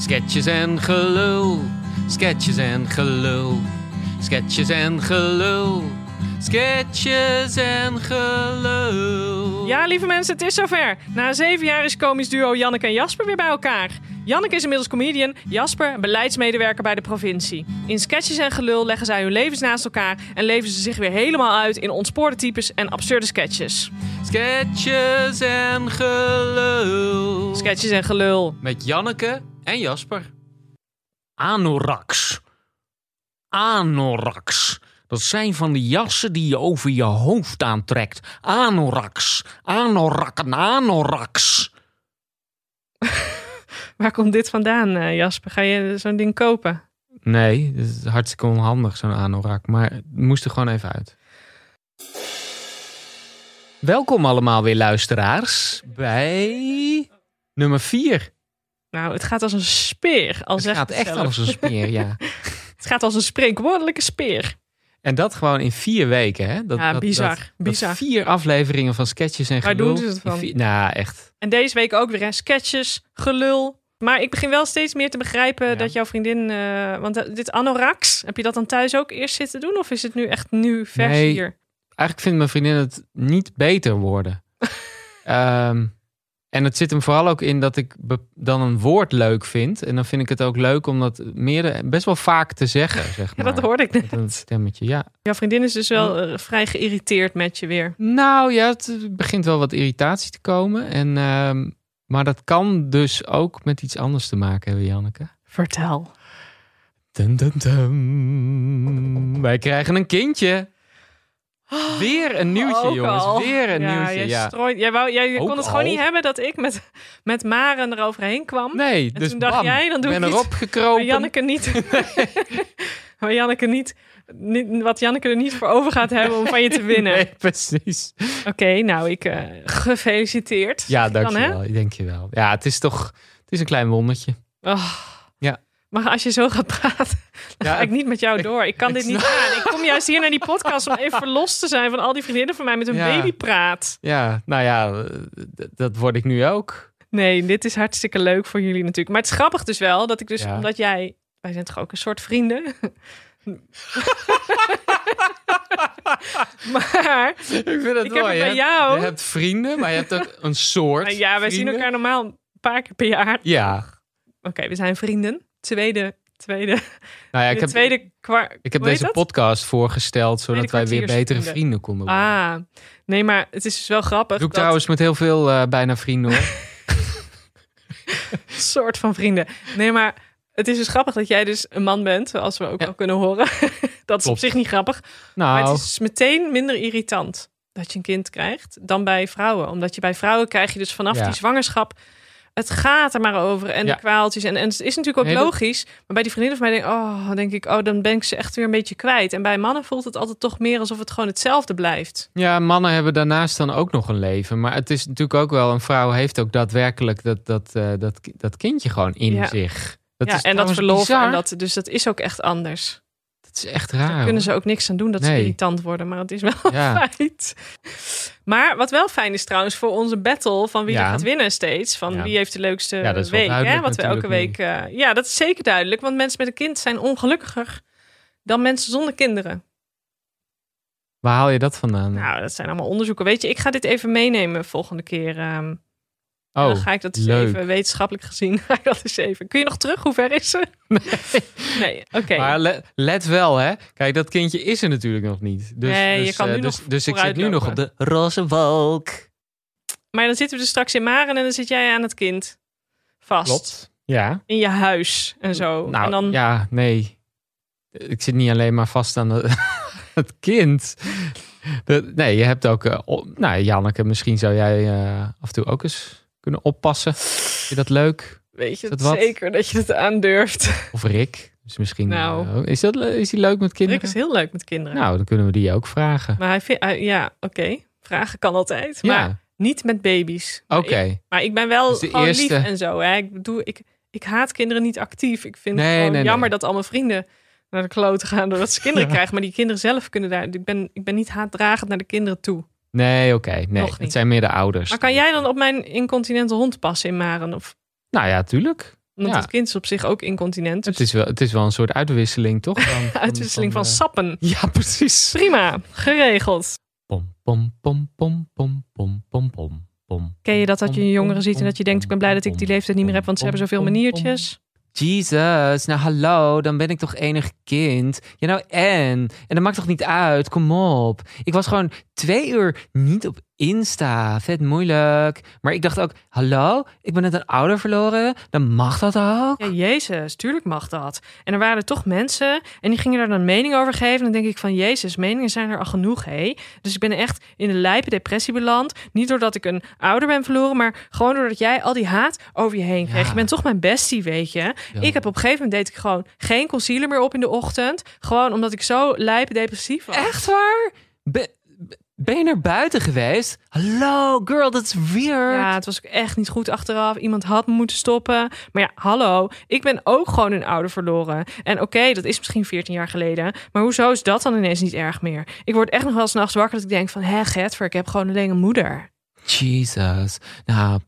Sketches en gelul, sketches en gelul, sketches en gelul, sketches en gelul. Ja, lieve mensen, het is zover. Na zeven jaar is komisch duo Janneke en Jasper weer bij elkaar. Janneke is inmiddels comedian, Jasper beleidsmedewerker bij de provincie. In sketches en gelul leggen zij hun levens naast elkaar en leven ze zich weer helemaal uit in ontspoorde types en absurde sketches. Sketches en gelul. Sketches en gelul. Met Janneke en Jasper. Anoraks. Anoraks. Dat zijn van die jassen die je over je hoofd aantrekt. Anoraks. Anorakken, anoraks. Waar komt dit vandaan, eh, Jasper? Ga je zo'n ding kopen? Nee, dat is hartstikke onhandig zo'n anorak, maar het moest er gewoon even uit. Welkom allemaal weer luisteraars bij nummer 4. Nou, het gaat als een speer. Al Het zegt gaat echt zelf. als een speer, ja. Het gaat als een spreekwoordelijke speer. En dat gewoon in vier weken, hè? Dat, Ja, dat- bizar, dat- dat bizar. vier afleveringen van sketches en Waar gelul. doen ze het in van? vier- nou, echt. En deze week ook weer, hè? Sketches, gelul. Maar ik begin wel steeds meer te begrijpen Ja. dat jouw vriendin... eh, want eh, dit anoraks, heb je dat dan thuis ook eerst zitten doen? Of is het nu echt nu vers Nee. hier? Eigenlijk vindt mijn vriendin het niet beter worden. Ehm, en het zit hem vooral ook in dat ik be- dan een woord leuk vind. En dan vind ik het ook leuk om dat meerdere, best wel vaak te zeggen, zeg Ja, maar. dat hoorde ik net. Met een stemmetje, ja. Jouw vriendin is dus wel Oh. eh, vrij geïrriteerd met je weer. Nou ja, het begint wel wat irritatie te komen. En, ehm, maar dat kan dus ook met iets anders te maken hebben, Janneke. Vertel. Dun, dun, dun. Wij krijgen een kindje. Weer een nieuwtje, Oh, Ook jongens. al. Weer een ja, nieuwtje, jij ja. strooit- jij wou, jij Ook kon het gewoon al. niet hebben dat ik met, met Maren eroverheen kwam. Nee, Hm? En dus toen dacht bam, jij, dan doe ben ik iets. erop gekropen. Maar Janneke niet. maar Janneke niet, niet- Wat Janneke er niet voor over gaat hebben om van je te winnen. Nee, precies. Oké, nou, ik eh, gefeliciteerd. Ja, Kan, dankjewel. dankjewel. Ja, het is toch het is een klein wondertje. Oh. Ja. Maar als je zo gaat praten, dan Ja, ga ik niet met jou door. Ik kan ik dit niet aan. Ik kom juist hier naar die podcast om even los te zijn van al die vriendinnen van mij met hun Ja. babypraat. Ja, nou ja, eh, d- dat word ik nu ook. Nee, dit is hartstikke leuk voor jullie natuurlijk. Maar het is grappig dus wel dat ik dus, Ja. omdat jij... Wij zijn toch ook een soort vrienden? maar Ik vind het ik heb mooi, het hè? bij jou... Je hebt vrienden, maar je hebt ook een soort Nou ja, wij zien vrienden. elkaar normaal een paar keer per jaar. Oké, Ja, we zijn vrienden. Tweede, tweede, nou ja, ik de heb, tweede kwart. ik heb hoe heet deze dat? podcast voorgesteld... zodat wij weer betere kwartiersvrienden. vrienden konden worden. Ah, nee, maar het is dus wel grappig. doe ik dat trouwens met heel veel eh, bijna vrienden, hoor. soort van vrienden. Nee, maar het is dus grappig dat jij dus een man bent, zoals we ook Ja. al kunnen horen. dat is op Klopt. zich niet grappig, Nou, maar het is dus meteen minder irritant dat je een kind krijgt dan bij vrouwen, omdat je bij vrouwen krijg je dus vanaf Ja. die zwangerschap het gaat er maar over en Ja. de kwaaltjes en, en het is natuurlijk ook Nee, dat- logisch, maar bij die vriendinnen van mij denk, oh, denk ik, oh, dan ben ik ze echt weer een beetje kwijt. En bij mannen voelt het altijd toch meer alsof het gewoon hetzelfde blijft. Ja, mannen hebben daarnaast dan ook nog een leven. Maar het is natuurlijk ook wel, een vrouw heeft ook daadwerkelijk dat, dat, eh, dat, ki- dat kindje gewoon in Ja. zich. Dat ja, is en dat trouwens verlof bizar. en dat, dus dat is ook echt anders. Dat is echt Daar raar. kunnen hoor. ze ook niks aan doen dat ze Nee. irritant worden, maar het is wel een Ja. feit. Maar wat wel fijn is trouwens voor onze battle van wie Ja. er gaat winnen steeds, van Ja. wie heeft de leukste Ja, dat is wel week, hè? duidelijk Wat we elke week. natuurlijk eh, ja, dat is zeker duidelijk, want mensen met een kind zijn ongelukkiger dan mensen zonder kinderen. Waar haal je dat vandaan? Nou, dat zijn allemaal onderzoeken. Weet je, ik ga dit even meenemen volgende keer. ehm. En dan oh, ga ik dat eens leuk. even wetenschappelijk gezien. Ga ik dat eens even. Kun je nog terug? Hoe ver is ze? Nee, oké. maar le- let wel hè. Kijk, dat kindje is er natuurlijk nog niet. Dus, Nee, je dus, kan eh, nu dus, nog dus ik zit nu nog op de vooruitlopen. roze wolk. Maar dan zitten we dus straks in Maren en dan zit jij aan het kind vast. Klopt. Ja. in je huis en zo. Nou, en dan, ja, nee. Ik zit niet alleen maar vast aan de- het kind. Dat- nee, je hebt ook... eh, o- nou, Janneke, misschien zou jij eh, af en toe ook eens kunnen oppassen. Vind je dat leuk? weet je is dat het wat? zeker dat je het aandurft. Of Rick? Dus misschien... Nou. eh, is, dat, le- is die leuk met kinderen? Rick is heel leuk met kinderen. Nou, dan kunnen we die ook vragen. Maar hij vindt, hij- ja, oké. Vragen kan altijd. Maar ja, niet met baby's. Maar oké. ik- Maar ik ben wel Dus de gewoon eerste- lief en zo. Hè. Ik, bedoel, ik, ik haat kinderen niet actief. Ik vind Nee, het gewoon nee, nee. jammer dat al mijn vrienden naar de kloten gaan doordat ze kinderen Ja. krijgen. Maar die kinderen zelf kunnen daar... Ik ben, ik ben niet haatdragend naar de kinderen toe. Nee, oké. nee, Nog het niet. zijn meer de ouders. Maar kan jij dan op mijn incontinente hond passen in Maren? Of Nou ja, tuurlijk. Want Ja. het kind is op zich ook incontinent. Dus Het is wel, het is wel een soort uitwisseling, toch? Van- van- uitwisseling van, eh, sappen. Ja, precies. Prima, geregeld. Pom, pom, pom, pom, pom, pom, pom, pom, pom. Ken je dat dat je jongeren ziet en dat je denkt... ik ben blij dat ik die leeftijd niet meer heb, want ze hebben zoveel maniertjes. Jesus, nou hallo, dan ben ik toch enig kind. Ja, nou en? En dat maakt toch niet uit, kom op. Ik was gewoon twee uur niet op Insta, vet moeilijk. Maar ik dacht ook, hallo, ik ben net een ouder verloren, dan mag dat ook. Ja, Jezus, tuurlijk mag dat. En er waren er toch mensen en die gingen daar dan mening over geven. En dan denk ik van, Jezus, meningen zijn er al genoeg, hé. Dus ik ben echt in een lijpe depressie beland. Niet doordat ik een ouder ben verloren, maar gewoon doordat jij al die haat over je heen kreeg. Ja. Je bent toch mijn bestie, weet je. Ja. Ik heb op een gegeven moment deed ik gewoon geen concealer meer op in de ochtend. Gewoon omdat ik zo lijpe depressief was. Echt waar? Be- be- ben je naar buiten geweest? Hallo, girl, dat is weird. Ja, het was ook echt niet goed achteraf. Iemand had me moeten stoppen. Maar ja, hallo, ik ben ook gewoon een ouder verloren. En oké, dat is misschien 14 jaar geleden. Maar hoezo is dat dan ineens niet erg meer? Ik word echt nog wel s'nachts wakker dat ik denk van... Hé, Getver, ik heb gewoon alleen een moeder. Jesus. Nou,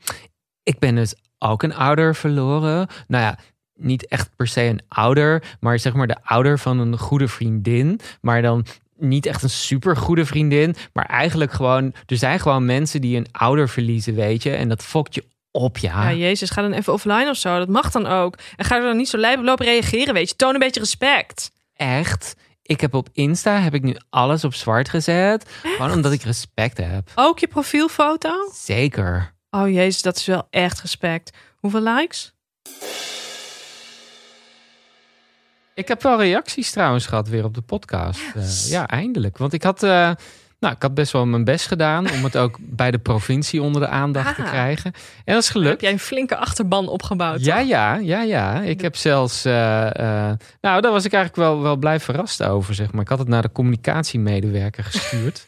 ik ben dus ook een ouder verloren. Nou ja, niet echt per se een ouder, maar zeg maar de ouder van een goede vriendin. Maar dan niet echt een super goede vriendin, maar eigenlijk gewoon. Er zijn gewoon mensen die een ouder verliezen, weet je, en dat fokt je op, ja. Ja, jezus, ga dan even offline of zo. Dat mag dan ook. En ga er dan niet zo lijp op lopen reageren, weet je. Toon een beetje respect. Echt. Ik heb op Insta heb ik nu alles op zwart gezet, gewoon omdat ik respect heb. Ook je profielfoto? Zeker. Oh jezus, dat is wel echt respect. Hoeveel likes? Ik heb wel reacties trouwens gehad weer op de podcast. Eh, ja, eindelijk. Want ik had, eh, nou, ik had best wel mijn best gedaan om het ook bij de provincie onder de aandacht te Ah. krijgen. En dat is Heb gelukt. jij een flinke achterban opgebouwd? Ja, ja, ja, ja. Ik heb zelfs. eh, eh, nou, daar was ik eigenlijk wel, wel blij verrast over, zeg maar. Ik had het naar de communicatiemedewerker gestuurd.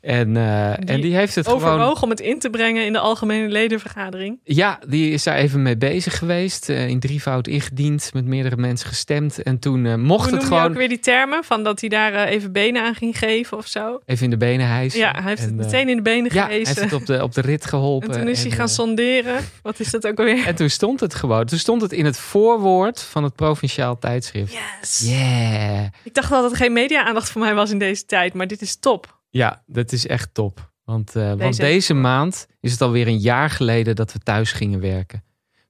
en, eh, en Die die heeft het Overwogen gewoon. om het in te brengen in de algemene ledenvergadering. Ja, die is daar even mee bezig geweest. eh, in drievoud ingediend, met meerdere mensen gestemd. En toen eh, mocht Hoe het noem je gewoon. ook weer die termen? Van dat hij daar eh, even benen aan ging geven of zo? Even in de benen hijsen. Ja, hij heeft het En, eh, meteen in de benen Ja, hij gehezen. heeft het op de, op de rit geholpen. en toen is hij gaan eh, sonderen. Wat is dat ook alweer? En toen stond het gewoon. Toen stond het in het voorwoord van het provinciaal tijdschrift. Yes! Yeah. Ik dacht wel dat er geen media-aandacht voor mij was in deze tijd. Maar dit is top. Ja, dat is echt top. Want, eh, want Deze- deze maand is het alweer een jaar geleden dat we thuis gingen werken.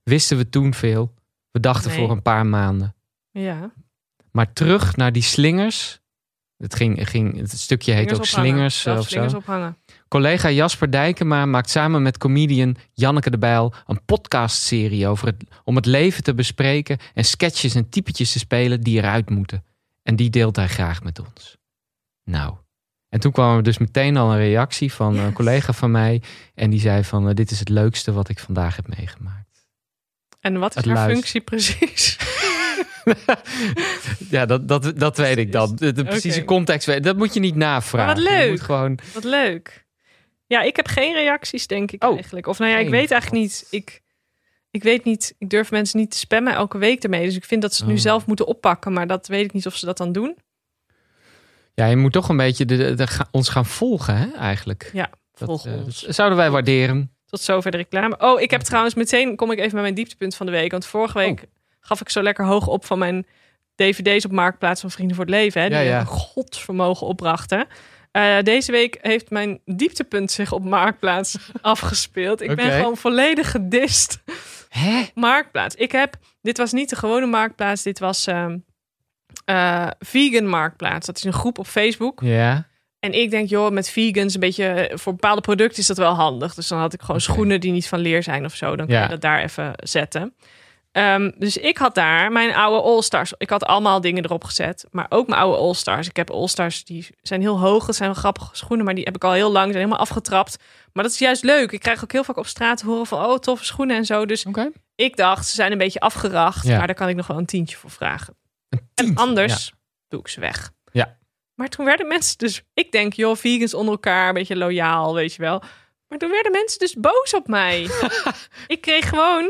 Wisten we toen veel? We dachten Nee. voor een paar maanden. Ja. Maar terug naar die slingers. Het, ging, ging, het stukje heet ook ophangen. slingers, eh, Zelf of zo. slingers ophangen. Collega Jasper Dijkema maakt samen met comedian Janneke de Bijl een podcastserie over het, om het leven te bespreken en sketches en typetjes te spelen die eruit moeten. En die deelt hij graag met ons. Nou, en toen kwam er dus meteen al een reactie van een Yes. collega van mij en die zei van eh, dit is het leukste wat ik vandaag heb meegemaakt. En wat is Het haar luist. functie precies? ja, dat, dat, dat weet ik dan. De, de precieze Oké. context, weet- dat moet je niet navragen. Maar Je wat leuk. moet gewoon, Wat leuk. Ja, ik heb geen reacties, denk ik Oh, eigenlijk. Of nou ja, ik geen. weet eigenlijk niet. Ik, ik weet niet. Ik durf mensen niet te spammen elke week ermee. Dus ik vind dat ze het nu Oh. zelf moeten oppakken. Maar dat weet ik niet of ze dat dan doen. ja, je moet toch een beetje de, de- de ga- ons gaan volgen, hè, eigenlijk. Dat, Volg eh, ons. dat zouden wij waarderen. Tot zover de reclame. Oh, ik heb trouwens meteen kom ik even met mijn dieptepunt van de week. Want vorige Oh. week gaf ik zo lekker hoog op van mijn DVD's op marktplaats van Vrienden voor het Leven. Hè, die Ja, ja. een godsvermogen opbrachten. Eh, deze week heeft mijn dieptepunt zich op marktplaats afgespeeld. Ik Oké. ben gewoon volledig gedist. Hè? marktplaats. Ik heb, dit was niet de gewone marktplaats, dit was ehm, eh, vegan marktplaats. Dat is een groep op Facebook. Ja. En ik denk, joh, met vegans een beetje eh, voor bepaalde producten is dat wel handig. Dus dan had ik gewoon Oké. schoenen die niet van leer zijn of zo. Dan kan Ja. je dat daar even zetten. Ehm, dus ik had daar mijn oude All-Stars. Ik had allemaal dingen erop gezet. Maar ook mijn oude All-Stars. Ik heb All-Stars die zijn heel hoog. Dat zijn wel grappige schoenen. Maar die heb ik al heel lang. Zijn helemaal afgetrapt. Maar dat is juist leuk. Ik krijg ook heel vaak op straat te horen van... oh, toffe schoenen en zo. Dus Oké. ik dacht, ze zijn een beetje afgeracht, Ja. maar daar kan ik nog wel een tientje voor vragen. En tientje, anders doe ik ze weg. Ja. Maar toen werden mensen dus, ik denk, joh, vegans onder elkaar, een beetje loyaal, weet je wel. Maar toen werden mensen dus boos op mij. ik kreeg gewoon,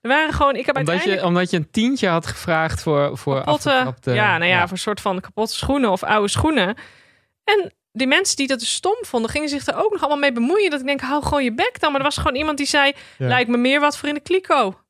er waren gewoon, ik heb Omdat, uiteindelijk je, omdat je een tientje had gevraagd voor, voor kapotte, afgetrapte- ja, nou ja, voor een soort van kapotte schoenen of oude schoenen. En die mensen die dat dus stom vonden, gingen zich er ook nog allemaal mee bemoeien. Dat ik denk, hou gewoon je bek dan. Maar er was gewoon iemand die zei, Ja. lijkt me meer wat voor in de kliko.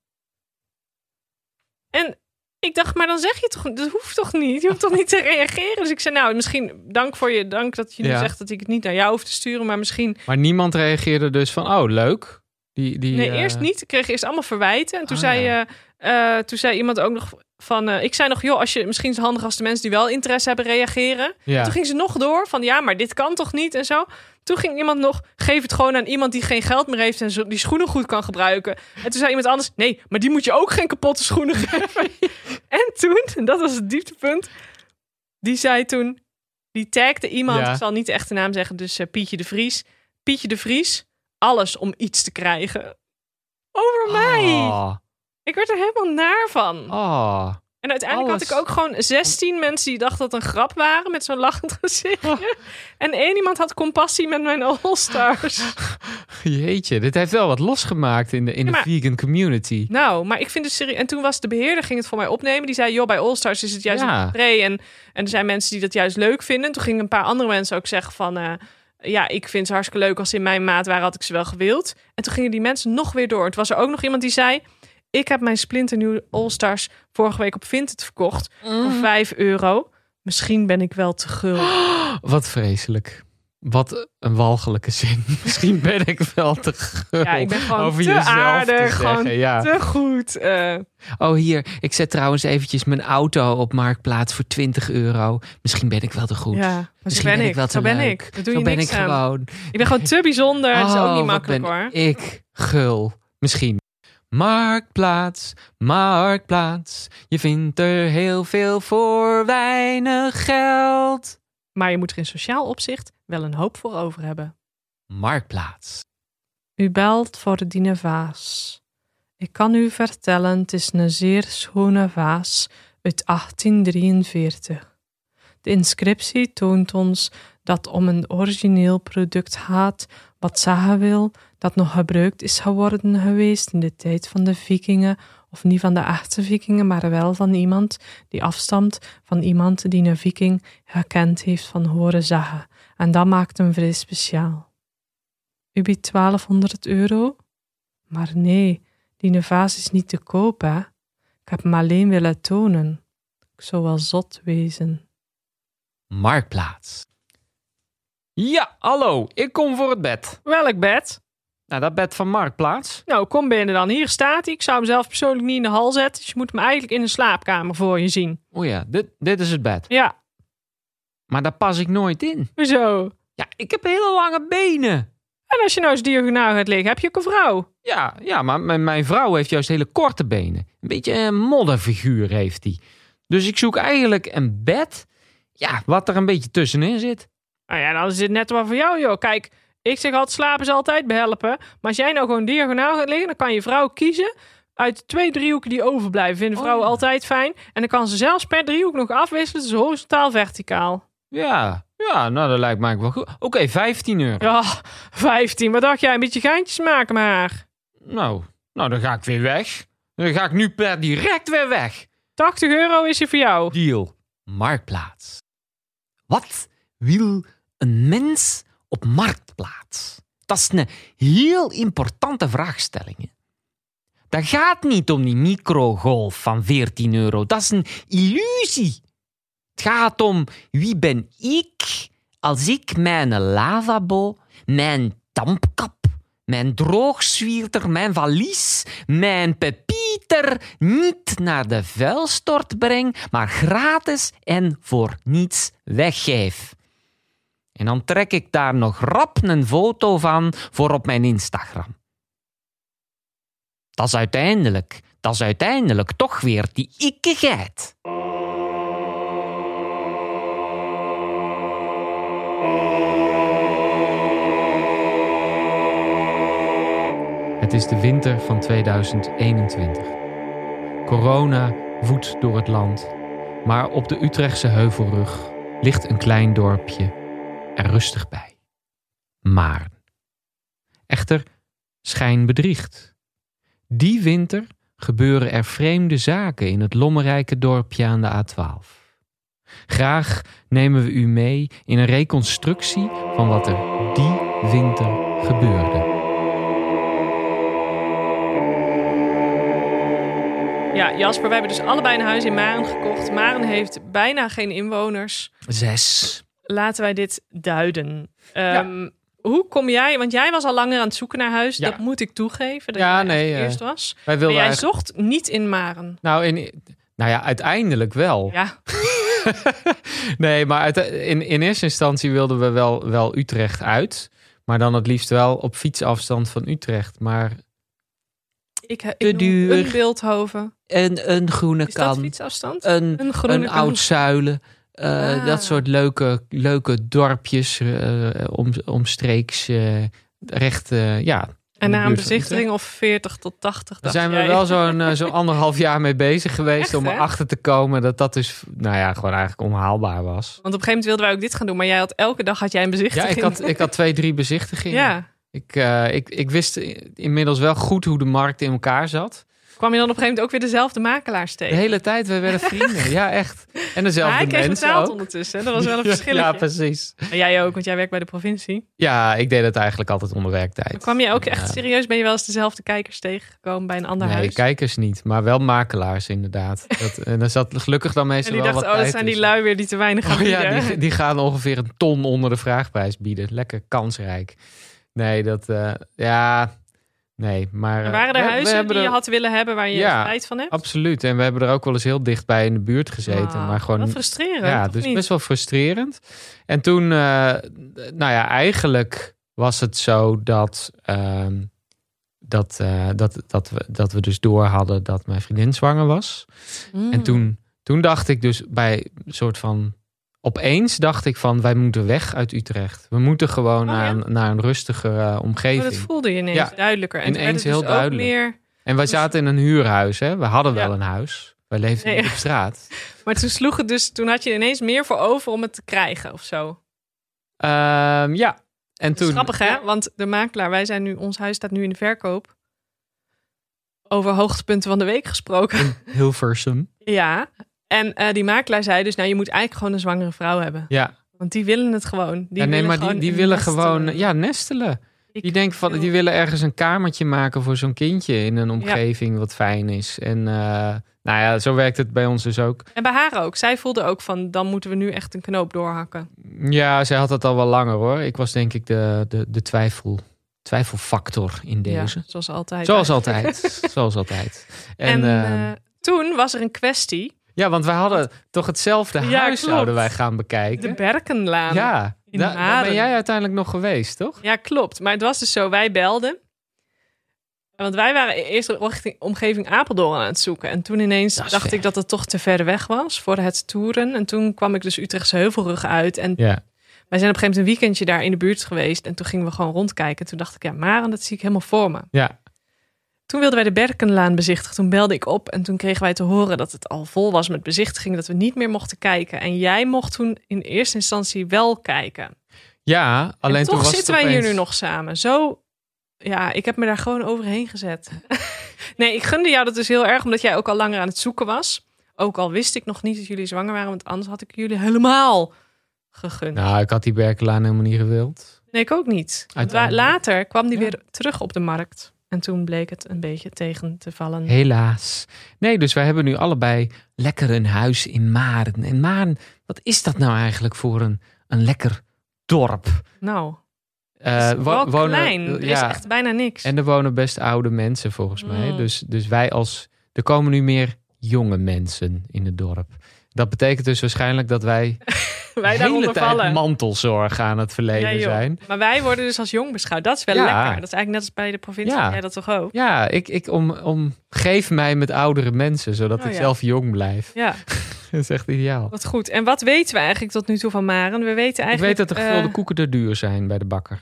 En ik dacht, maar dan zeg je toch, dat hoeft toch niet? Je hoeft toch niet te reageren? Dus ik zei, nou, misschien, dank voor je, dank dat je nu Ja. zegt dat ik het niet naar jou hoef te sturen, maar misschien. Maar niemand reageerde dus van, oh, leuk. Die, die, Nee, eh, eerst niet. Ik kreeg eerst allemaal verwijten. En toen, Ah, zei, ja. eh, eh, toen zei iemand ook nog van, eh, ik zei nog, joh, als je, misschien is het handig als de mensen die wel interesse hebben reageren. Ja. Toen ging ze nog door van ja, maar dit kan toch niet en zo. Toen ging iemand nog, geef het gewoon aan iemand die geen geld meer heeft en zo, die schoenen goed kan gebruiken. En toen zei iemand anders, nee, maar die moet je ook geen kapotte schoenen geven. en toen, en dat was het dieptepunt, die zei toen, die tagde iemand, Ja. ik zal niet de echte naam zeggen, dus eh, Pietje de Vries. Pietje de Vries, alles om iets te krijgen. Over mij. Oh, Ik werd er helemaal naar van. oh. En uiteindelijk Alles. had ik ook gewoon 16 mensen die dachten dat het een grap waren met zo'n lachend gezichtje. En één iemand had compassie met mijn All-Stars. Jeetje, dit heeft wel wat losgemaakt in de, in de Ja, maar- vegan community. nou, maar ik vind het serieus. En toen was de beheerder, ging het voor mij opnemen. Die zei: Joh, bij All-Stars is het juist Ja. een spray. En, en er zijn mensen die dat juist leuk vinden. Toen gingen een paar andere mensen ook zeggen: van eh, ja, ik vind ze hartstikke leuk. Als ze in mijn maat waren, had ik ze wel gewild. En toen gingen die mensen nog weer door. En toen was er ook nog iemand die zei. Ik heb mijn splinternieuwe All-Stars vorige week op Vinted verkocht. Voor 5 euro. Misschien ben ik wel te gul. Wat vreselijk. Wat een walgelijke zin. Misschien ben ik wel te gul Ja, ik ben gewoon over te jezelf aardig, te zeggen. gewoon ja. Te goed. eh. Oh, hier. Ik zet trouwens eventjes mijn auto op Marktplaats voor 20 euro. Misschien ben ik wel te goed. ja, maar zo Misschien ben, ik. wel te zo ben leuk. ik. Daar doe Zo je ben niks ik aan. gewoon. Ik ben gewoon te bijzonder. dat is Oh, ook niet wat makkelijk ben hoor. Ik gul. Misschien. Marktplaats, marktplaats. Je vindt er heel veel voor weinig geld. Maar je moet er in sociaal opzicht wel een hoop voor over hebben. Marktplaats. U belt voor de dinevaas. Ik kan u vertellen, het is een zeer schone vaas uit 1843. De inscriptie toont ons dat om een origineel product gaat, wat zeggen wil, dat nog gebruikt is geworden geweest in de tijd van de vikingen, of niet van de echte vikingen, maar wel van iemand die afstamt van iemand die een viking gekend heeft van horen zeggen. En dat maakt hem vrij speciaal. U biedt 1200 euro? Maar nee, die vaas is niet te koop, hè? Ik heb hem alleen willen tonen. Ik zou wel zot wezen. Marktplaats. Ja, hallo. Ik kom voor het bed. Welk bed? Nou, dat bed van Marktplaats. Nou, kom binnen dan. Hier staat hij. Ik zou hem zelf persoonlijk niet in de hal zetten. Dus je moet hem eigenlijk in de slaapkamer voor je zien. O Oh ja, dit, dit is het bed. Ja, Maar daar pas ik nooit in. zo. Ja, ik heb hele lange benen. En als je nou eens diagonaal gaat liggen, heb je ook een vrouw. Ja, ja maar mijn, mijn vrouw heeft juist hele korte benen. Een beetje een modderfiguur heeft die. Dus ik zoek eigenlijk een bed. Ja, wat er een beetje tussenin zit. Nou ja, dan is dit net wat voor jou, joh. Kijk, ik zeg altijd, slapen is altijd behelpen. Maar als jij nou gewoon diagonaal gaat liggen, dan kan je vrouw kiezen uit de twee driehoeken die overblijven. Vinden Oh, vrouwen ja. altijd fijn. En dan kan ze zelfs per driehoek nog afwisselen, dus horizontaal, verticaal. Ja, ja nou dat lijkt mij wel goed. Oké, 15 euro. Ja, 15. Wat dacht jij? Een beetje geintjes maken maar. Nou, nou, dan ga ik weer weg. Dan ga ik nu per direct weer weg. 80 euro is er voor jou. Deal. Marktplaats. Wat wil een mens op marktplaats? Dat is een heel importante vraagstelling. hè. Dat gaat niet om die microgolf van 14 euro. Dat is een illusie. Het gaat om wie ben ik als ik mijn lavabo, mijn tampkap, mijn droogzwierter, mijn valies, mijn pepieter niet naar de vuilstort breng, maar gratis en voor niets weggeef. En dan trek ik daar nog rap een foto van voor op mijn Instagram. Dat is uiteindelijk, dat is uiteindelijk toch weer die ikkigheid. Het is de winter van 2021. Corona woedt door het land. Maar op de Utrechtse heuvelrug ligt een klein dorpje er rustig bij. Maarn. Echter, schijn bedriegt. Die winter gebeuren er vreemde zaken in het lommerrijke dorpje aan de A12. Graag nemen we u mee in een reconstructie van wat er die winter gebeurde. Ja, Ja, Jasper, wij hebben dus allebei een huis in Maren gekocht. Maren heeft bijna geen inwoners. Zes. Laten wij dit duiden. Ehm, Hoe kom jij, want jij was al langer aan het zoeken naar huis. Ja. Dat moet ik toegeven. Dat Ja, jij nee, echt eh, eerst was. Wij Maar wilden jij eigenlijk... zocht niet in Maren. Nou, in... nou ja, uiteindelijk wel. Ja, Nee, maar uit- in, in eerste instantie wilden we wel, wel Utrecht uit. Maar dan het liefst wel op fietsafstand van Utrecht. Maar ik, ik Te noem duur. een Beeldhoven. En een groene Is dat kan. fietsafstand? Een, Een groene een kan. oud zuilen. eh, Ah. Dat soort leuke, leuke dorpjes eh, om, omstreeks. eh, recht, eh, ja. En de na een buurt van bezichtiging of 40 tot 80. Daar dacht zijn we jij. wel zo'n eh, zo'n anderhalf jaar mee bezig geweest. Echt, om hè? erachter te komen dat dat dus, nou ja, gewoon eigenlijk onhaalbaar was. Want op een gegeven moment wilden wij ook dit gaan doen, maar jij had elke dag had jij een Ja, bezichtiging. ik had, ik had twee, drie bezichtigingen. Ja. Ik, eh, ik, ik wist inmiddels wel goed hoe de markt in elkaar zat. Kwam je dan op een gegeven moment ook weer dezelfde makelaars De tegen? hele tijd, we werden vrienden. Ja, echt. En Maar dezelfde hij kreeg mensen betaald ook. ondertussen. hè? Dat was wel een verschil. Ja, precies. Maar jij ook, want jij werkt bij de provincie. Ja, ik deed het eigenlijk altijd onder werktijd. Maar kwam je ook En, echt eh, serieus? Ben je wel eens dezelfde kijkers tegengekomen bij een ander Nee, huis? kijkers niet, maar wel makelaars inderdaad. Dat, en daar zat gelukkig dan en meestal die wel dachten, wat oh, dat tijd zijn die tussen. lui weer die te weinig gaan Oh ja, bieden. die, die gaan ongeveer een ton onder de vraagprijs bieden. Lekker kansrijk. Nee, dat... eh, ja, nee, maar... Er eh, waren er we- we huizen hebben die je er- had willen hebben waar je Ja. spijt van hebt? Absoluut. En we hebben er ook wel eens heel dichtbij in de buurt gezeten. Ah, maar gewoon Wat frustrerend, Ja, of dus niet? best wel frustrerend. En toen, eh, nou ja, eigenlijk was het zo dat, ehm, dat, eh, dat, dat, we, dat we dus door hadden dat mijn vriendin zwanger was. Mm. En toen, toen dacht ik dus bij een soort van. Opeens dacht ik van wij moeten weg uit Utrecht. We moeten gewoon Oh, naar, ja? een, naar een rustigere Maar omgeving. Oh, dat voelde je ineens Ja. duidelijker. En toen werd Ineens het dus heel ook duidelijk. meer... En wij zaten in een huurhuis. Hè? We hadden wel dus Ja. een huis. Wij leefden Nee, niet ja. op straat. Maar toen sloeg het dus, toen had je ineens meer voor over om het te krijgen of zo. Ehm, ja. En Dat is toen, grappig hè, want de makelaar, wij zijn nu, ons huis staat nu in de verkoop. Over hoogtepunten van de week gesproken. Hilversum. ja. En eh, die makelaar zei dus, nou je moet eigenlijk gewoon een zwangere vrouw hebben. Ja, Want die willen het gewoon. Die ja, nee, willen maar die, gewoon die een willen nest, gewoon eh, ja, nestelen. ik die, denken van, wil- die willen ergens een kamertje maken voor zo'n kindje in een omgeving wat fijn is. En eh, nou ja, zo werkt het bij ons dus ook. En bij haar ook. Zij voelde ook van, dan moeten we nu echt een knoop doorhakken. Ja, zij had het al wel langer hoor. Ik was denk ik de, de, de twijfel, twijfelfactor in Ja, deze. zoals altijd. Zoals altijd. Zoals altijd. En, En, eh, eh, toen was er een kwestie. ja, want we hadden toch hetzelfde Ja, huis klopt. zouden wij gaan De bekijken. Berkenlaan. ja, in da- daar Haren. ben jij uiteindelijk nog geweest, toch? Ja, klopt. Maar het was dus zo, wij belden. Want wij waren e-, eerst richting omgeving Apeldoorn aan het zoeken. En toen ineens Dat is dacht ver. ik dat het toch te ver weg was voor het toeren. En toen kwam ik dus Utrechtse Heuvelrug uit. En Ja. wij zijn op een gegeven moment een weekendje daar in de buurt geweest. En toen gingen we gewoon rondkijken. En toen dacht ik, ja, Maren, dat zie ik helemaal voor me. Ja. Toen wilden wij de Berkenlaan bezichtigen. Toen belde ik op en toen kregen wij te horen dat het al vol was met bezichtigingen. Dat we niet meer mochten kijken. En jij mocht toen in eerste instantie wel kijken. Ja, alleen En toen toch was het zitten wij hier opeens- nu nog samen. Zo, ja, ik heb me daar gewoon overheen gezet. nee, ik gunde jou dat dus heel erg, omdat jij ook al langer aan het zoeken was. Ook al wist ik nog niet dat jullie zwanger waren, want anders had ik jullie helemaal gegund. Nou, ik had die Berkelaan helemaal niet gewild. Nee, ik ook niet. Want wa- Uiteindelijk. later kwam die Ja. weer terug op de markt. En toen bleek het een beetje tegen te vallen. Helaas. Nee, dus wij hebben nu allebei lekker een huis in Maren. En Maren, wat is dat nou eigenlijk voor een, een lekker dorp? Nou, Eh, het is wo- wel wonen- klein. Er is ja, echt bijna niks. En er wonen best oude mensen volgens mij. Mm. Dus, dus wij als. Er komen nu meer jonge mensen in het dorp. Dat betekent dus waarschijnlijk dat wij, wij de hele daaronder tijd vallen. mantelzorg aan het verleden Ja, joh. zijn. Maar wij worden dus als jong beschouwd. Dat is wel Ja. lekker. Dat is eigenlijk net als bij de provincie. Ja. Jij dat toch ook? Ja, ik, ik om, omgeef mij met oudere mensen, zodat Oh, ik ja. zelf jong blijf. Ja. Dat is echt ideaal. Wat goed. En wat weten we eigenlijk tot nu toe van Maren? We weten Ik weet eigenlijk... dat de gevulde eh, koeken te duur zijn bij de bakker.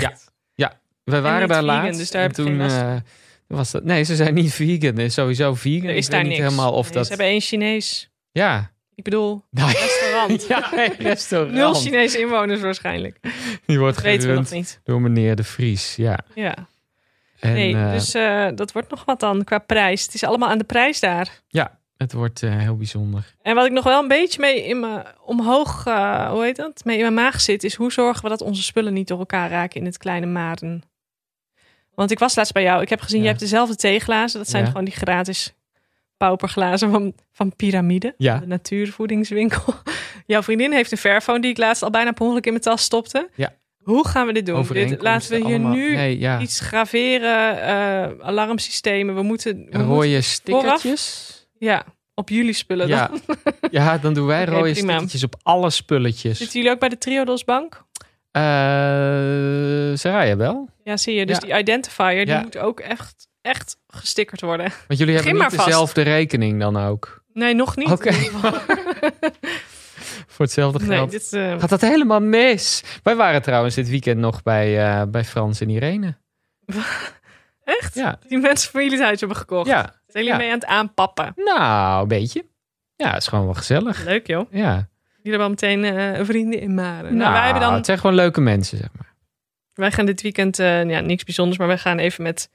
ja. ja, we niet waren daar vegan, laatst. dus daar en heb je geen toen last van. eh, was dat. Nee, ze zijn niet vegan. Er is sowieso vegan. Er Ik is weet daar niet niks. helemaal of Nee, dat. Ze hebben één Chinees. Ja. Ik bedoel, Nou, restaurant. ja, een Nul restaurant. Chinese inwoners waarschijnlijk. Die wordt Dat weten we nog gerund niet. door meneer De Vries. Ja. Ja. En, nee, eh, dus eh, dat wordt nog wat dan qua prijs. Het is allemaal aan de prijs daar. het wordt eh, heel bijzonder. En wat ik nog wel een beetje mee in mijn omhoog, eh, hoe heet dat? Mee in mijn maag zit, is hoe zorgen we dat onze spullen niet door elkaar raken in het kleine Maren? Want ik was laatst bij jou. Ik heb gezien, Ja. je hebt dezelfde theeglazen. Dat zijn Ja. gewoon die gratis pauperglazen van, van piramide. Ja. De natuurvoedingswinkel. Jouw vriendin heeft een verfoon die ik laatst al bijna per ongeluk in mijn tas stopte. Ja. Hoe gaan we dit doen? Dit, Overeenkomsten laten we hier allemaal. nu nee, ja. iets graveren, eh, alarmsystemen. We moeten... we moeten- rode stickertjes. ja, op jullie spullen dan. Ja. ja, dan doen wij Oké, rode prima. stickertjes op alle spulletjes. Zitten jullie ook bij de Triodosbank? Eh Saraya wel? Ja, zie je. Dus Ja. die identifier, die Ja. moet ook echt, echt gestickerd worden. Want jullie Begin hebben maar niet vast. dezelfde rekening dan ook. Nee, nog niet. Oké. in ieder geval. Voor hetzelfde geld. nee, dit... eh, Gaat dat helemaal mis? Wij waren trouwens dit weekend nog bij, eh, bij Frans en Irene. echt? Ja, Die mensen van jullie het huis hebben gekocht. ja. Zijn jullie Ja. mee aan het aanpappen? nou, een beetje. Ja, het is gewoon wel gezellig. Leuk joh. Ja. Jullie hebben al meteen eh, vrienden in Maren. Nou, Nou, wij, hebben dan, het zijn gewoon leuke mensen, zeg maar. wij gaan dit weekend, eh, ja, niks bijzonders, maar wij gaan even met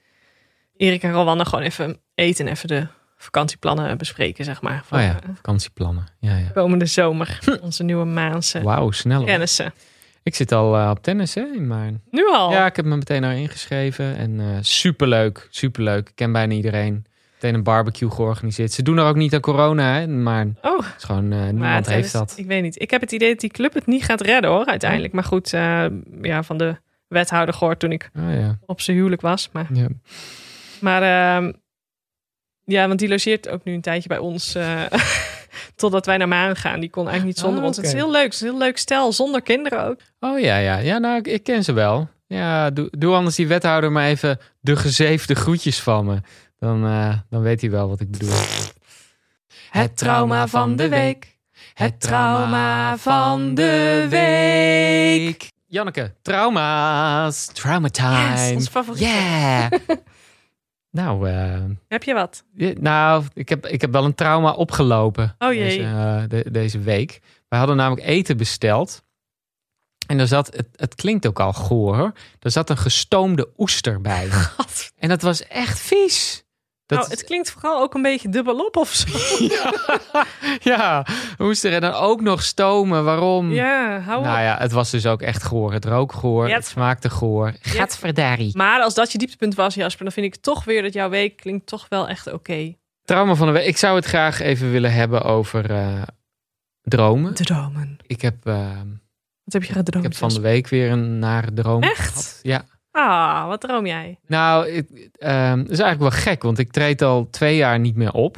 Erik en Rowanne gewoon even eten. Even de vakantieplannen bespreken, zeg maar. Van Oh ja, eh, vakantieplannen. Ja, ja. komende zomer. Onze nieuwe Maanse Hm. Wauw, snel. hoor. kennissen. Ik zit al eh, op tennis, hè, in mijn... Nu al? Ja, ik heb me meteen naar ingeschreven. En eh, superleuk, superleuk. Ik ken bijna iedereen. Meteen een barbecue georganiseerd. Ze doen er ook niet aan corona, hè, maar het Oh, is gewoon, eh, maar niemand het- heeft het- dat. Ik weet niet. Ik heb het idee dat die club het niet gaat redden hoor, uiteindelijk. Maar goed, eh, ja, van de wethouder gehoord toen ik Oh, ja. op zijn huwelijk was. Maar Ja. Maar ehm, ja, want die logeert ook nu een tijdje bij ons. eh, totdat wij naar Maren gaan. Die kon eigenlijk niet zonder Ah, ons. Het is oké. heel leuk. Het is een heel leuk stel. Zonder kinderen ook. Oh ja, ja. Ja, nou, ik, ik ken ze wel. Ja, doe, doe anders die wethouder maar even de gezeefde groetjes van me. Dan, eh, dan weet hij wel wat ik bedoel. Het trauma van de week. Het trauma van de week. Janneke, trauma's. Trauma Yes, time. ons favoriet. Yeah. nou, eh, Heb je wat? ja, nou ik, heb, ik heb wel een trauma opgelopen Oh jee. Deze, eh, de- deze week. We hadden namelijk eten besteld. En daar zat, het, het klinkt ook al goor, hoor. daar zat een gestoomde oester bij. Wat? en dat was echt vies. Dat nou, het klinkt vooral ook een beetje dubbelop of zo. Ja, oester en dan ook nog stomen. Waarom? ja, hou op. Nou ja, het was dus ook echt goor. Het rook goor, Ja, het smaakte goor. Gadverdari. Maar als dat je dieptepunt was, Jasper, dan vind ik toch weer dat jouw week klinkt toch wel echt oké. Trauma van de week. Ik zou het graag even willen hebben over eh, dromen. Dromen. Ik heb, eh, Wat heb je ik gedroomd? heb van de week weer een nare droom Oh, dus- Echt? gehad. Ja. Ah, wat droom jij? Nou, het ehm, het is eigenlijk wel gek, want ik treed al twee jaar niet meer op.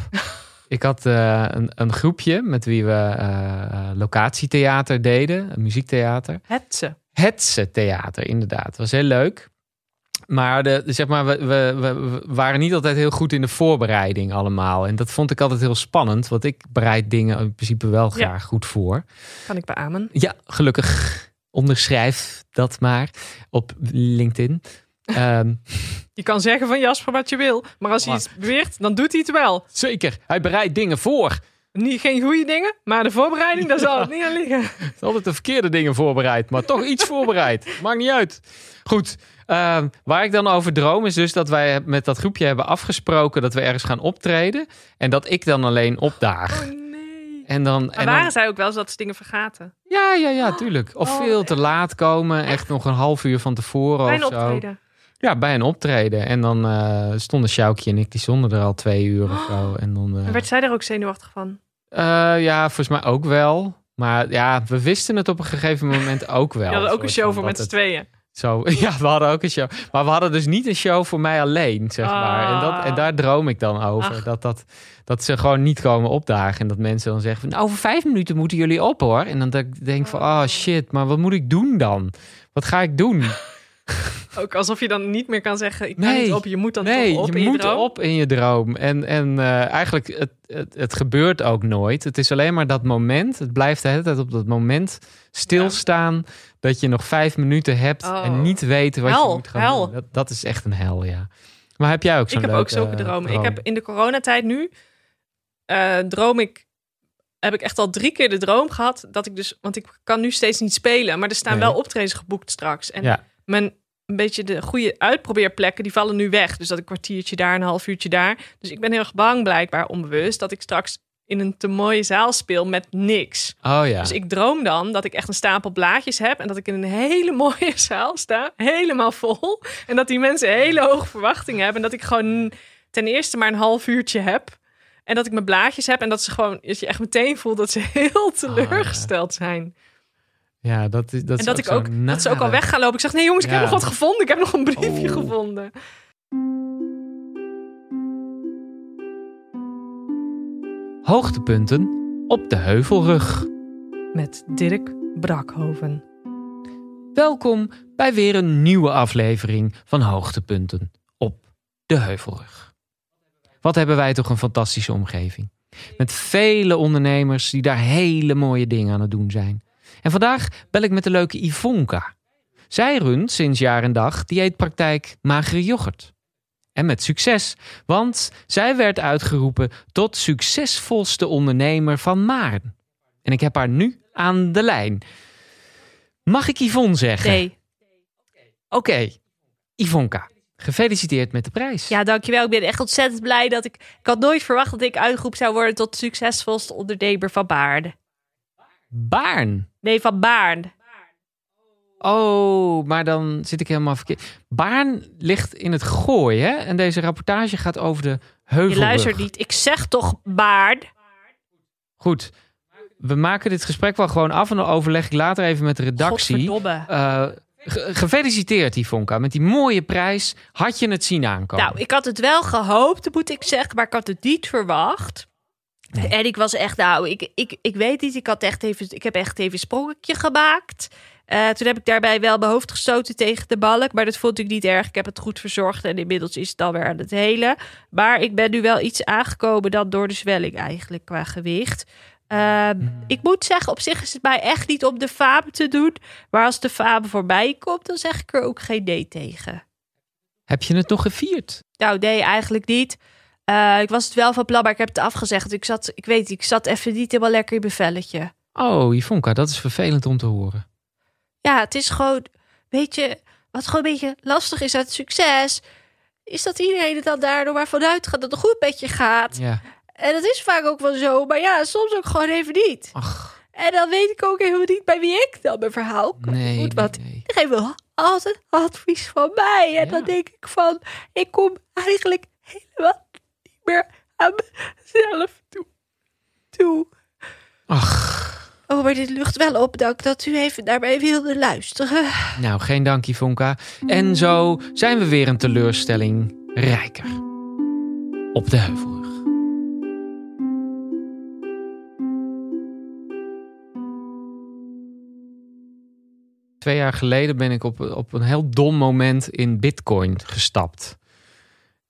ik had eh, een, een groepje met wie we eh, locatietheater deden, een muziektheater. Het ze. Hetze theater, inderdaad. Het was heel leuk. Maar, de, zeg maar we, we, we, we waren niet altijd heel goed in de voorbereiding allemaal. En dat vond ik altijd heel spannend. Want ik bereid dingen in principe wel graag goed voor. Kan ik beamen. Ja, gelukkig. Onderschrijf dat maar op LinkedIn. Ehm, Je kan zeggen van Jasper wat je wil. Maar als hij Maar- iets beweert, dan doet hij het wel. zeker, hij bereidt dingen voor. Niet, geen goede dingen, maar de voorbereiding, daar zal het niet aan liggen. Het is altijd de verkeerde dingen voorbereid, maar toch iets voorbereid. Maakt niet uit. Goed, ehm, waar ik dan over droom is dus dat wij met dat groepje hebben afgesproken dat we ergens gaan optreden. En dat ik dan alleen opdaag. Oh, nee. En dan, Maar en waren dan zij ook wel eens dat ze dingen vergaten? ja, ja, ja, tuurlijk. Of Oh, veel te laat komen, echt nog een half uur van tevoren Fijn of Oh, zo. optreden. Ja, bij een optreden. En dan eh, stonden Sjoukje en ik, die stonden er al twee uur of zo. En dan, eh, En Oh. werd zij daar ook zenuwachtig van? eh, ja, volgens mij ook wel. Maar ja, we wisten het op een gegeven moment ook wel. Je hadden ook een Soort show van voor dat met z'n het- tweeën. Zo, ja, we hadden ook een show. Maar we hadden dus niet een show voor mij alleen, zeg maar. En, dat, en daar droom ik dan over. Ah. Ach. Dat, dat, dat ze gewoon niet komen opdagen. En dat mensen dan zeggen van, "Nou, over vijf minuten moeten jullie op hoor. En dan dat ik denk van, oh shit, maar wat moet ik doen dan? Wat ga ik doen? Ook alsof je dan niet meer kan zeggen, ik kan Nee. niet op, je moet dan nee, toch op je in moet droom. op in je droom. En, en eh, eigenlijk, het, het, het gebeurt ook nooit. Het is alleen maar dat moment. Het blijft de hele tijd op dat moment stilstaan. Dat je nog vijf minuten hebt Oh. en niet weet wat Hel, je moet gaan hel. doen. Dat, dat is echt een hel, ja. Maar heb jij ook zo'n Ik heb leuke, ook zulke eh, dromen. droom? Ik heb in de coronatijd nu eh, droom ik. Heb ik echt al drie keer de droom gehad dat ik dus, want ik kan nu steeds niet spelen, maar er staan Nee. wel optredens geboekt straks. En Ja. mijn een beetje de goede uitprobeerplekken die vallen nu weg. Dus dat een kwartiertje daar, een half uurtje daar. Dus ik ben heel erg bang, blijkbaar onbewust, dat ik straks in een te mooie zaal speel met niks. Oh ja. Dus ik droom dan dat ik echt een stapel blaadjes heb en dat ik in een hele mooie zaal sta, helemaal vol. En dat die mensen hele hoge verwachtingen hebben en dat ik gewoon ten eerste maar een half uurtje heb. En dat ik mijn blaadjes heb en dat ze gewoon, dat je echt meteen voelt dat ze Ah, heel teleurgesteld zijn. Ja, dat is dat en is dat, ik ook, zo'n dat ze ook al nare- weg gaan lopen. Ik zeg, nee jongens, ik Ja. heb nog wat gevonden. Ik heb nog een briefje Oh. gevonden. Hoogtepunten op de heuvelrug. Met Dirk Brakhoven. Welkom bij weer een nieuwe aflevering van Hoogtepunten op de Heuvelrug. Wat hebben wij toch een fantastische omgeving. Met vele ondernemers die daar hele mooie dingen aan het doen zijn. En vandaag bel ik met de leuke Ivonka. Zij runt sinds jaar en dag dieetpraktijk Magere Yoghurt. En met succes, want zij werd uitgeroepen tot succesvolste ondernemer van Maarn. En ik heb haar nu aan de lijn. Mag ik Yvonne zeggen? Nee. Oké, Ivonka, gefeliciteerd met de prijs. Ja, dankjewel. Ik ben echt ontzettend blij dat ik... Ik had nooit verwacht dat ik uitgeroepen zou worden tot succesvolste ondernemer van Baarn. Baarn. Nee, van Baarn. Oh, maar dan zit ik helemaal verkeerd. Baarn ligt in het gooi, hè? En deze rapportage gaat over de heuvelrug. Je luistert niet. Ik zeg toch Baarn. Goed, we maken dit gesprek wel gewoon af en dan overleg ik later even met de redactie. Godverdomme. Eh, ge- gefeliciteerd, Ivonka, met die mooie prijs. Had je het zien aankomen? Nou, ik had het wel gehoopt, moet ik zeggen, maar ik had het niet verwacht. Nee. En ik was echt, nou, ik, ik, ik weet niet, ik, had echt even, ik heb echt even een sprongetje gemaakt. Eh, toen heb ik daarbij wel mijn hoofd gestoten tegen de balk, maar dat vond ik niet erg. Ik heb het goed verzorgd en inmiddels is het alweer aan het hele. Maar ik ben nu wel iets aangekomen dan door de zwelling eigenlijk qua gewicht. Ehm, ik moet zeggen, op zich is het mij echt niet om de faam te doen. Maar als de faam voorbij komt, dan zeg ik er ook geen nee tegen. Heb je het nog gevierd? Nou, nee, eigenlijk niet. Eh, ik was het wel van plan, maar ik heb het afgezegd. Ik zat, ik weet, ik zat even niet helemaal lekker in mijn velletje. Oh, Ivonka, dat is vervelend om te horen. Ja, het is gewoon, weet je, wat gewoon een beetje lastig is aan het succes, is dat iedereen er dan daardoor maar vanuit gaat dat het goed met je gaat. Ja, En dat is vaak ook wel zo, maar ja, soms ook gewoon even niet. ach, En dan weet ik ook helemaal niet bij wie ik dan mijn verhaal kwijt nee. moet, nee, want nee. iedereen wil altijd advies van mij. En Ja. dan denk ik van, ik kom eigenlijk helemaal niet meer aan mezelf toe. toe. Ach. Oh, maar dit lucht wel op, dank dat u even naar mij wilde luisteren. Nou, geen dank, Ivonka. En zo zijn we weer een teleurstelling rijker. Op de heuvelrug. Twee jaar geleden ben ik op, op een heel dom moment in Bitcoin gestapt.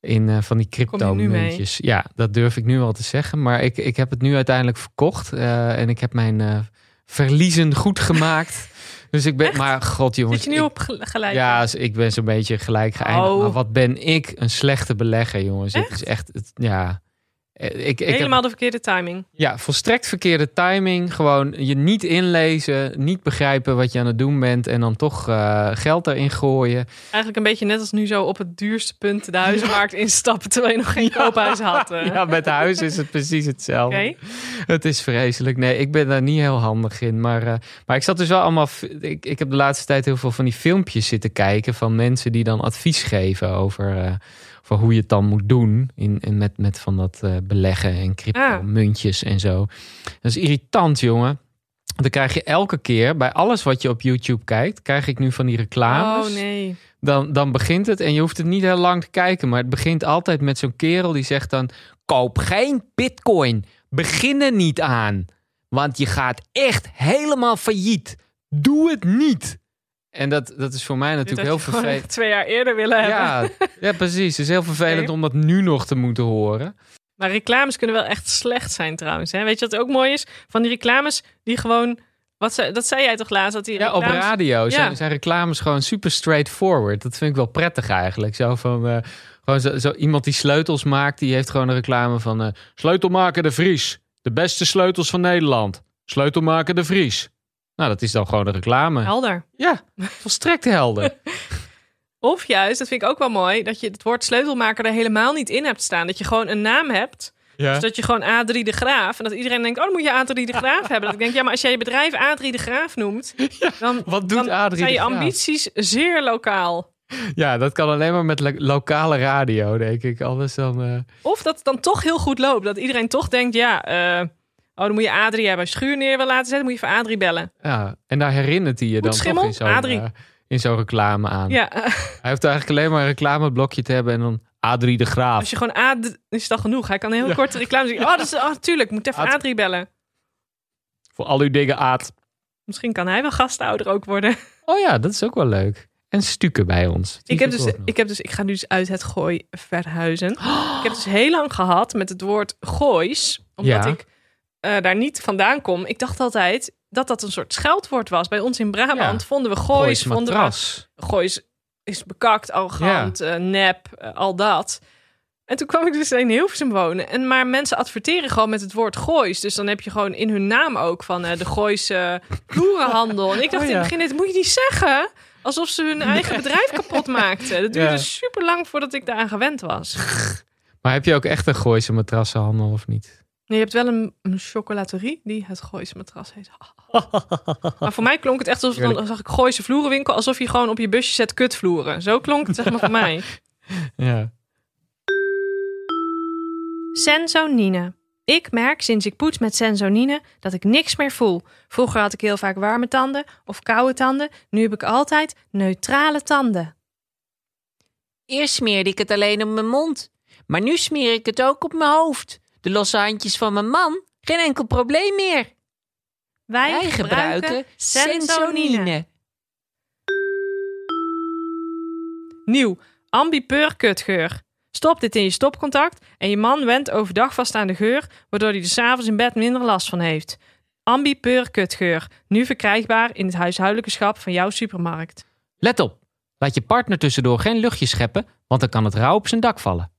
In eh, van die crypto-muntjes. Ja, dat durf ik nu al te zeggen. Maar ik, ik heb het nu uiteindelijk verkocht. eh, en ik heb mijn eh, verliezen goed gemaakt. dus ik ben. Maar god, jongens. Zit je nu ik- op gel- gelijk? ja, dus ik ben zo'n beetje gelijk geëindigd. Oh. Maar wat ben ik een slechte belegger, jongens. Het is echt, het- ja. Eh, Ik, ik heb Helemaal de verkeerde timing. ja, volstrekt verkeerde timing. Gewoon je niet inlezen, niet begrijpen wat je aan het doen bent. En dan toch eh, geld erin gooien. Eigenlijk een beetje net als nu zo op het duurste punt de huizenmarkt instappen terwijl je nog geen koophuis had. eh. Ja, met huis is het precies hetzelfde. Oké. Het is vreselijk. Nee, ik ben daar niet heel handig in. Maar, eh, maar ik zat dus wel allemaal. f- Ik, ik heb de laatste tijd heel veel van die filmpjes zitten kijken. van mensen die dan advies geven over, eh, over hoe je het dan moet doen. In, in met, met van dat eh, beleggen en crypto-muntjes en zo. Dat is irritant, jongen. Dan krijg je elke keer bij alles wat je op YouTube kijkt. krijg ik nu van die reclames Oh nee. dan, dan begint het. En je hoeft het niet heel lang te kijken. Maar het begint altijd met zo'n kerel die zegt dan... Koop geen bitcoin. Begin er niet aan. Want je gaat echt helemaal failliet. Doe het niet. En dat, dat is voor mij Dit had natuurlijk je heel gewoon vervelend. echt twee jaar eerder willen hebben. Ja, ja, precies. Het is heel vervelend Oké. om dat nu nog te moeten horen. Maar reclames kunnen wel echt slecht zijn trouwens. Hè? Weet je wat ook mooi is? Van die reclames die gewoon... Wat ze, dat zei jij toch laatst? Dat die Ja, op reclames- radio zijn, Ja. zijn reclames gewoon super straightforward. Dat vind ik wel prettig eigenlijk. Zo van, eh, gewoon zo, zo iemand die sleutels maakt, die heeft gewoon een reclame van... eh, sleutelmaker de Vries, de beste sleutels van Nederland. Sleutelmaker de Vries. Nou, dat is dan gewoon een reclame. Helder. Ja, volstrekt helder. Of juist, dat vind ik ook wel mooi, dat je het woord sleutelmaker er helemaal niet in hebt staan. Dat je gewoon een naam hebt. ja. Dus dat je gewoon A3 de Graaf. En dat iedereen denkt, oh, dan moet je A3 de Graaf hebben. Dat ik denk, ja, maar als jij je bedrijf A3 de Graaf noemt, dan Wat doet dan Adrie zijn de je Graaf? ambities zeer lokaal. Ja, dat kan alleen maar met lo- lokale radio, denk ik. Anders dan... eh, Of dat het dan toch heel goed loopt. Dat iedereen toch denkt, ja, eh, oh, dan moet je Adrie hebben. Als je Schuur neer wil laten zetten, moet je even Adrie bellen. ja, en daar herinnert hij je dan schimmel, toch in zo'n, Adrie. eh, in zo'n reclame aan. Ja, Hij hoeft eigenlijk alleen maar een reclameblokje te hebben en dan Adrie de Graaf. als je gewoon Adrie... Is dat genoeg? Hij kan een heel Ja. korte reclame zien. Oh, dat is, oh, tuurlijk, moet even Ad- Adrie bellen. Voor al uw dingen Aad. Misschien kan hij wel gastouder ook worden. Oh ja, dat is ook wel leuk. En stukken bij ons. Die Ik heb, zit dus, er ook nog. ik heb dus, ik ga nu dus uit het gooi verhuizen. Ik heb dus heel lang gehad met het woord goois, omdat Ja. ik eh, daar niet vandaan kom. Ik dacht altijd dat dat een soort scheldwoord was. Bij ons in Brabant Ja. vonden we goois, Goois vonden matras. we goois is bekakt, arrogant, eh, nep, eh, al dat. En toen kwam ik dus in Hilversum wonen. En maar mensen adverteren gewoon met het woord goois. Dus dan heb je gewoon in hun naam ook van eh, de gooise boerenhandel. En ik dacht Oh in ja. het begin, dit moet je niet zeggen. Alsof ze hun eigen bedrijf kapot maakten. Dat duurde Ja. super lang voordat ik daaraan gewend was. Maar heb je ook echt een Gooise matrassenhandel of niet? Nee, je hebt wel een, een chocolaterie die het Gooise matras heet. maar voor mij klonk het echt alsof dan zag ik Gooise vloerenwinkel. Alsof je gewoon op je busje zet kutvloeren. Zo klonk het zeg maar voor mij. Ja. Sensonine. Ik merk sinds ik poets met Sensonine dat ik niks meer voel. Vroeger had ik heel vaak warme tanden of koude tanden. Nu heb ik altijd neutrale tanden. Eerst smeerde ik het alleen op mijn mond. Maar nu smeer ik het ook op mijn hoofd. De losse handjes van mijn man. Geen enkel probleem meer. Wij, Nieuw. Ambipeur kutgeur. Stop dit in je stopcontact en je man went overdag vast aan de geur, waardoor hij er s'avonds in bed minder last van heeft. Ambipeur kutgeur. Nu verkrijgbaar in het huishoudelijke schap van jouw supermarkt. Let op. Laat je partner tussendoor geen luchtje scheppen, want dan kan het rauw op zijn dak vallen.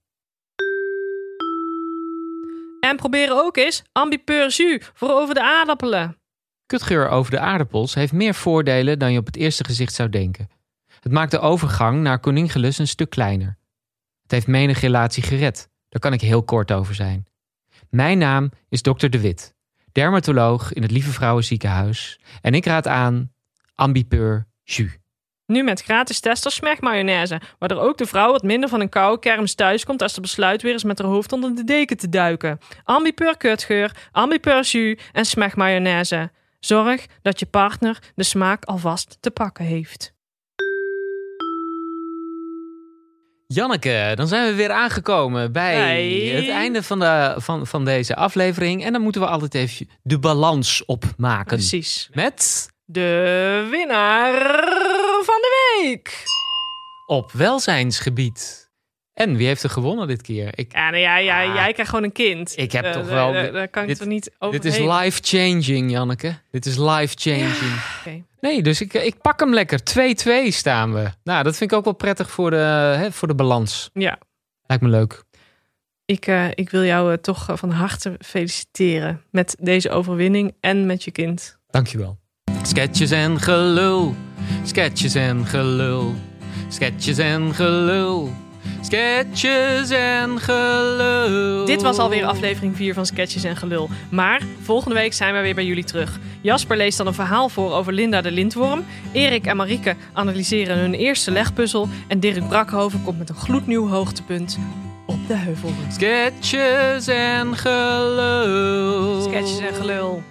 En probeer ook eens ambipeur jus voor over de aardappelen. Kutgeur over de aardappels heeft meer voordelen dan je op het eerste gezicht zou denken. Het maakt de overgang naar Koningelus een stuk kleiner. Het heeft menig relatie gered. Daar kan ik heel kort over zijn. Mijn naam is Dr. De Wit, dermatoloog in het Lieve Vrouwenziekenhuis. En ik raad aan Ambipeur Jus. Nu met gratis testers smergmayonaise, waardoor ook de vrouw wat minder van een koude kermis thuiskomt als ze besluit weer eens met haar hoofd onder de deken te duiken. Ambipur kutgeur, ambipur jus en smergmayonaise. Zorg dat je partner de smaak alvast te pakken heeft. Janneke, dan zijn we weer aangekomen bij Bij- het einde van, de, van, van deze aflevering. En dan moeten we altijd even de balans opmaken. Precies. Met De winnaar van de week. op welzijnsgebied. En wie heeft er gewonnen dit keer? Ik, Ja, nou ja, ja Ah. jij krijgt gewoon een kind. Ik heb Eh, toch daar- wel- Daar, daar kan ik dit- toch niet over dit is life-changing, Janneke. Dit is life-changing. oké. Nee, dus ik, ik pak hem lekker. 2-2 staan we. Nou, dat vind ik ook wel prettig voor de, hè, voor de balans. Ja. Lijkt me leuk. Ik, eh, ik wil jou eh, toch eh, van harte feliciteren met deze overwinning en met je kind. Dankjewel. Sketches en gelul. Sketches en gelul. Sketches en gelul. Sketches en gelul. Dit was alweer aflevering 4 van Sketches en Gelul. Maar volgende week zijn we weer bij jullie terug. Jasper leest dan een verhaal voor over Linda de Lindworm. Erik en Marieke analyseren hun eerste legpuzzel. En Dirk Brakhoven komt met een gloednieuw hoogtepunt op de heuvel. Sketches en gelul. Sketches en Gelul.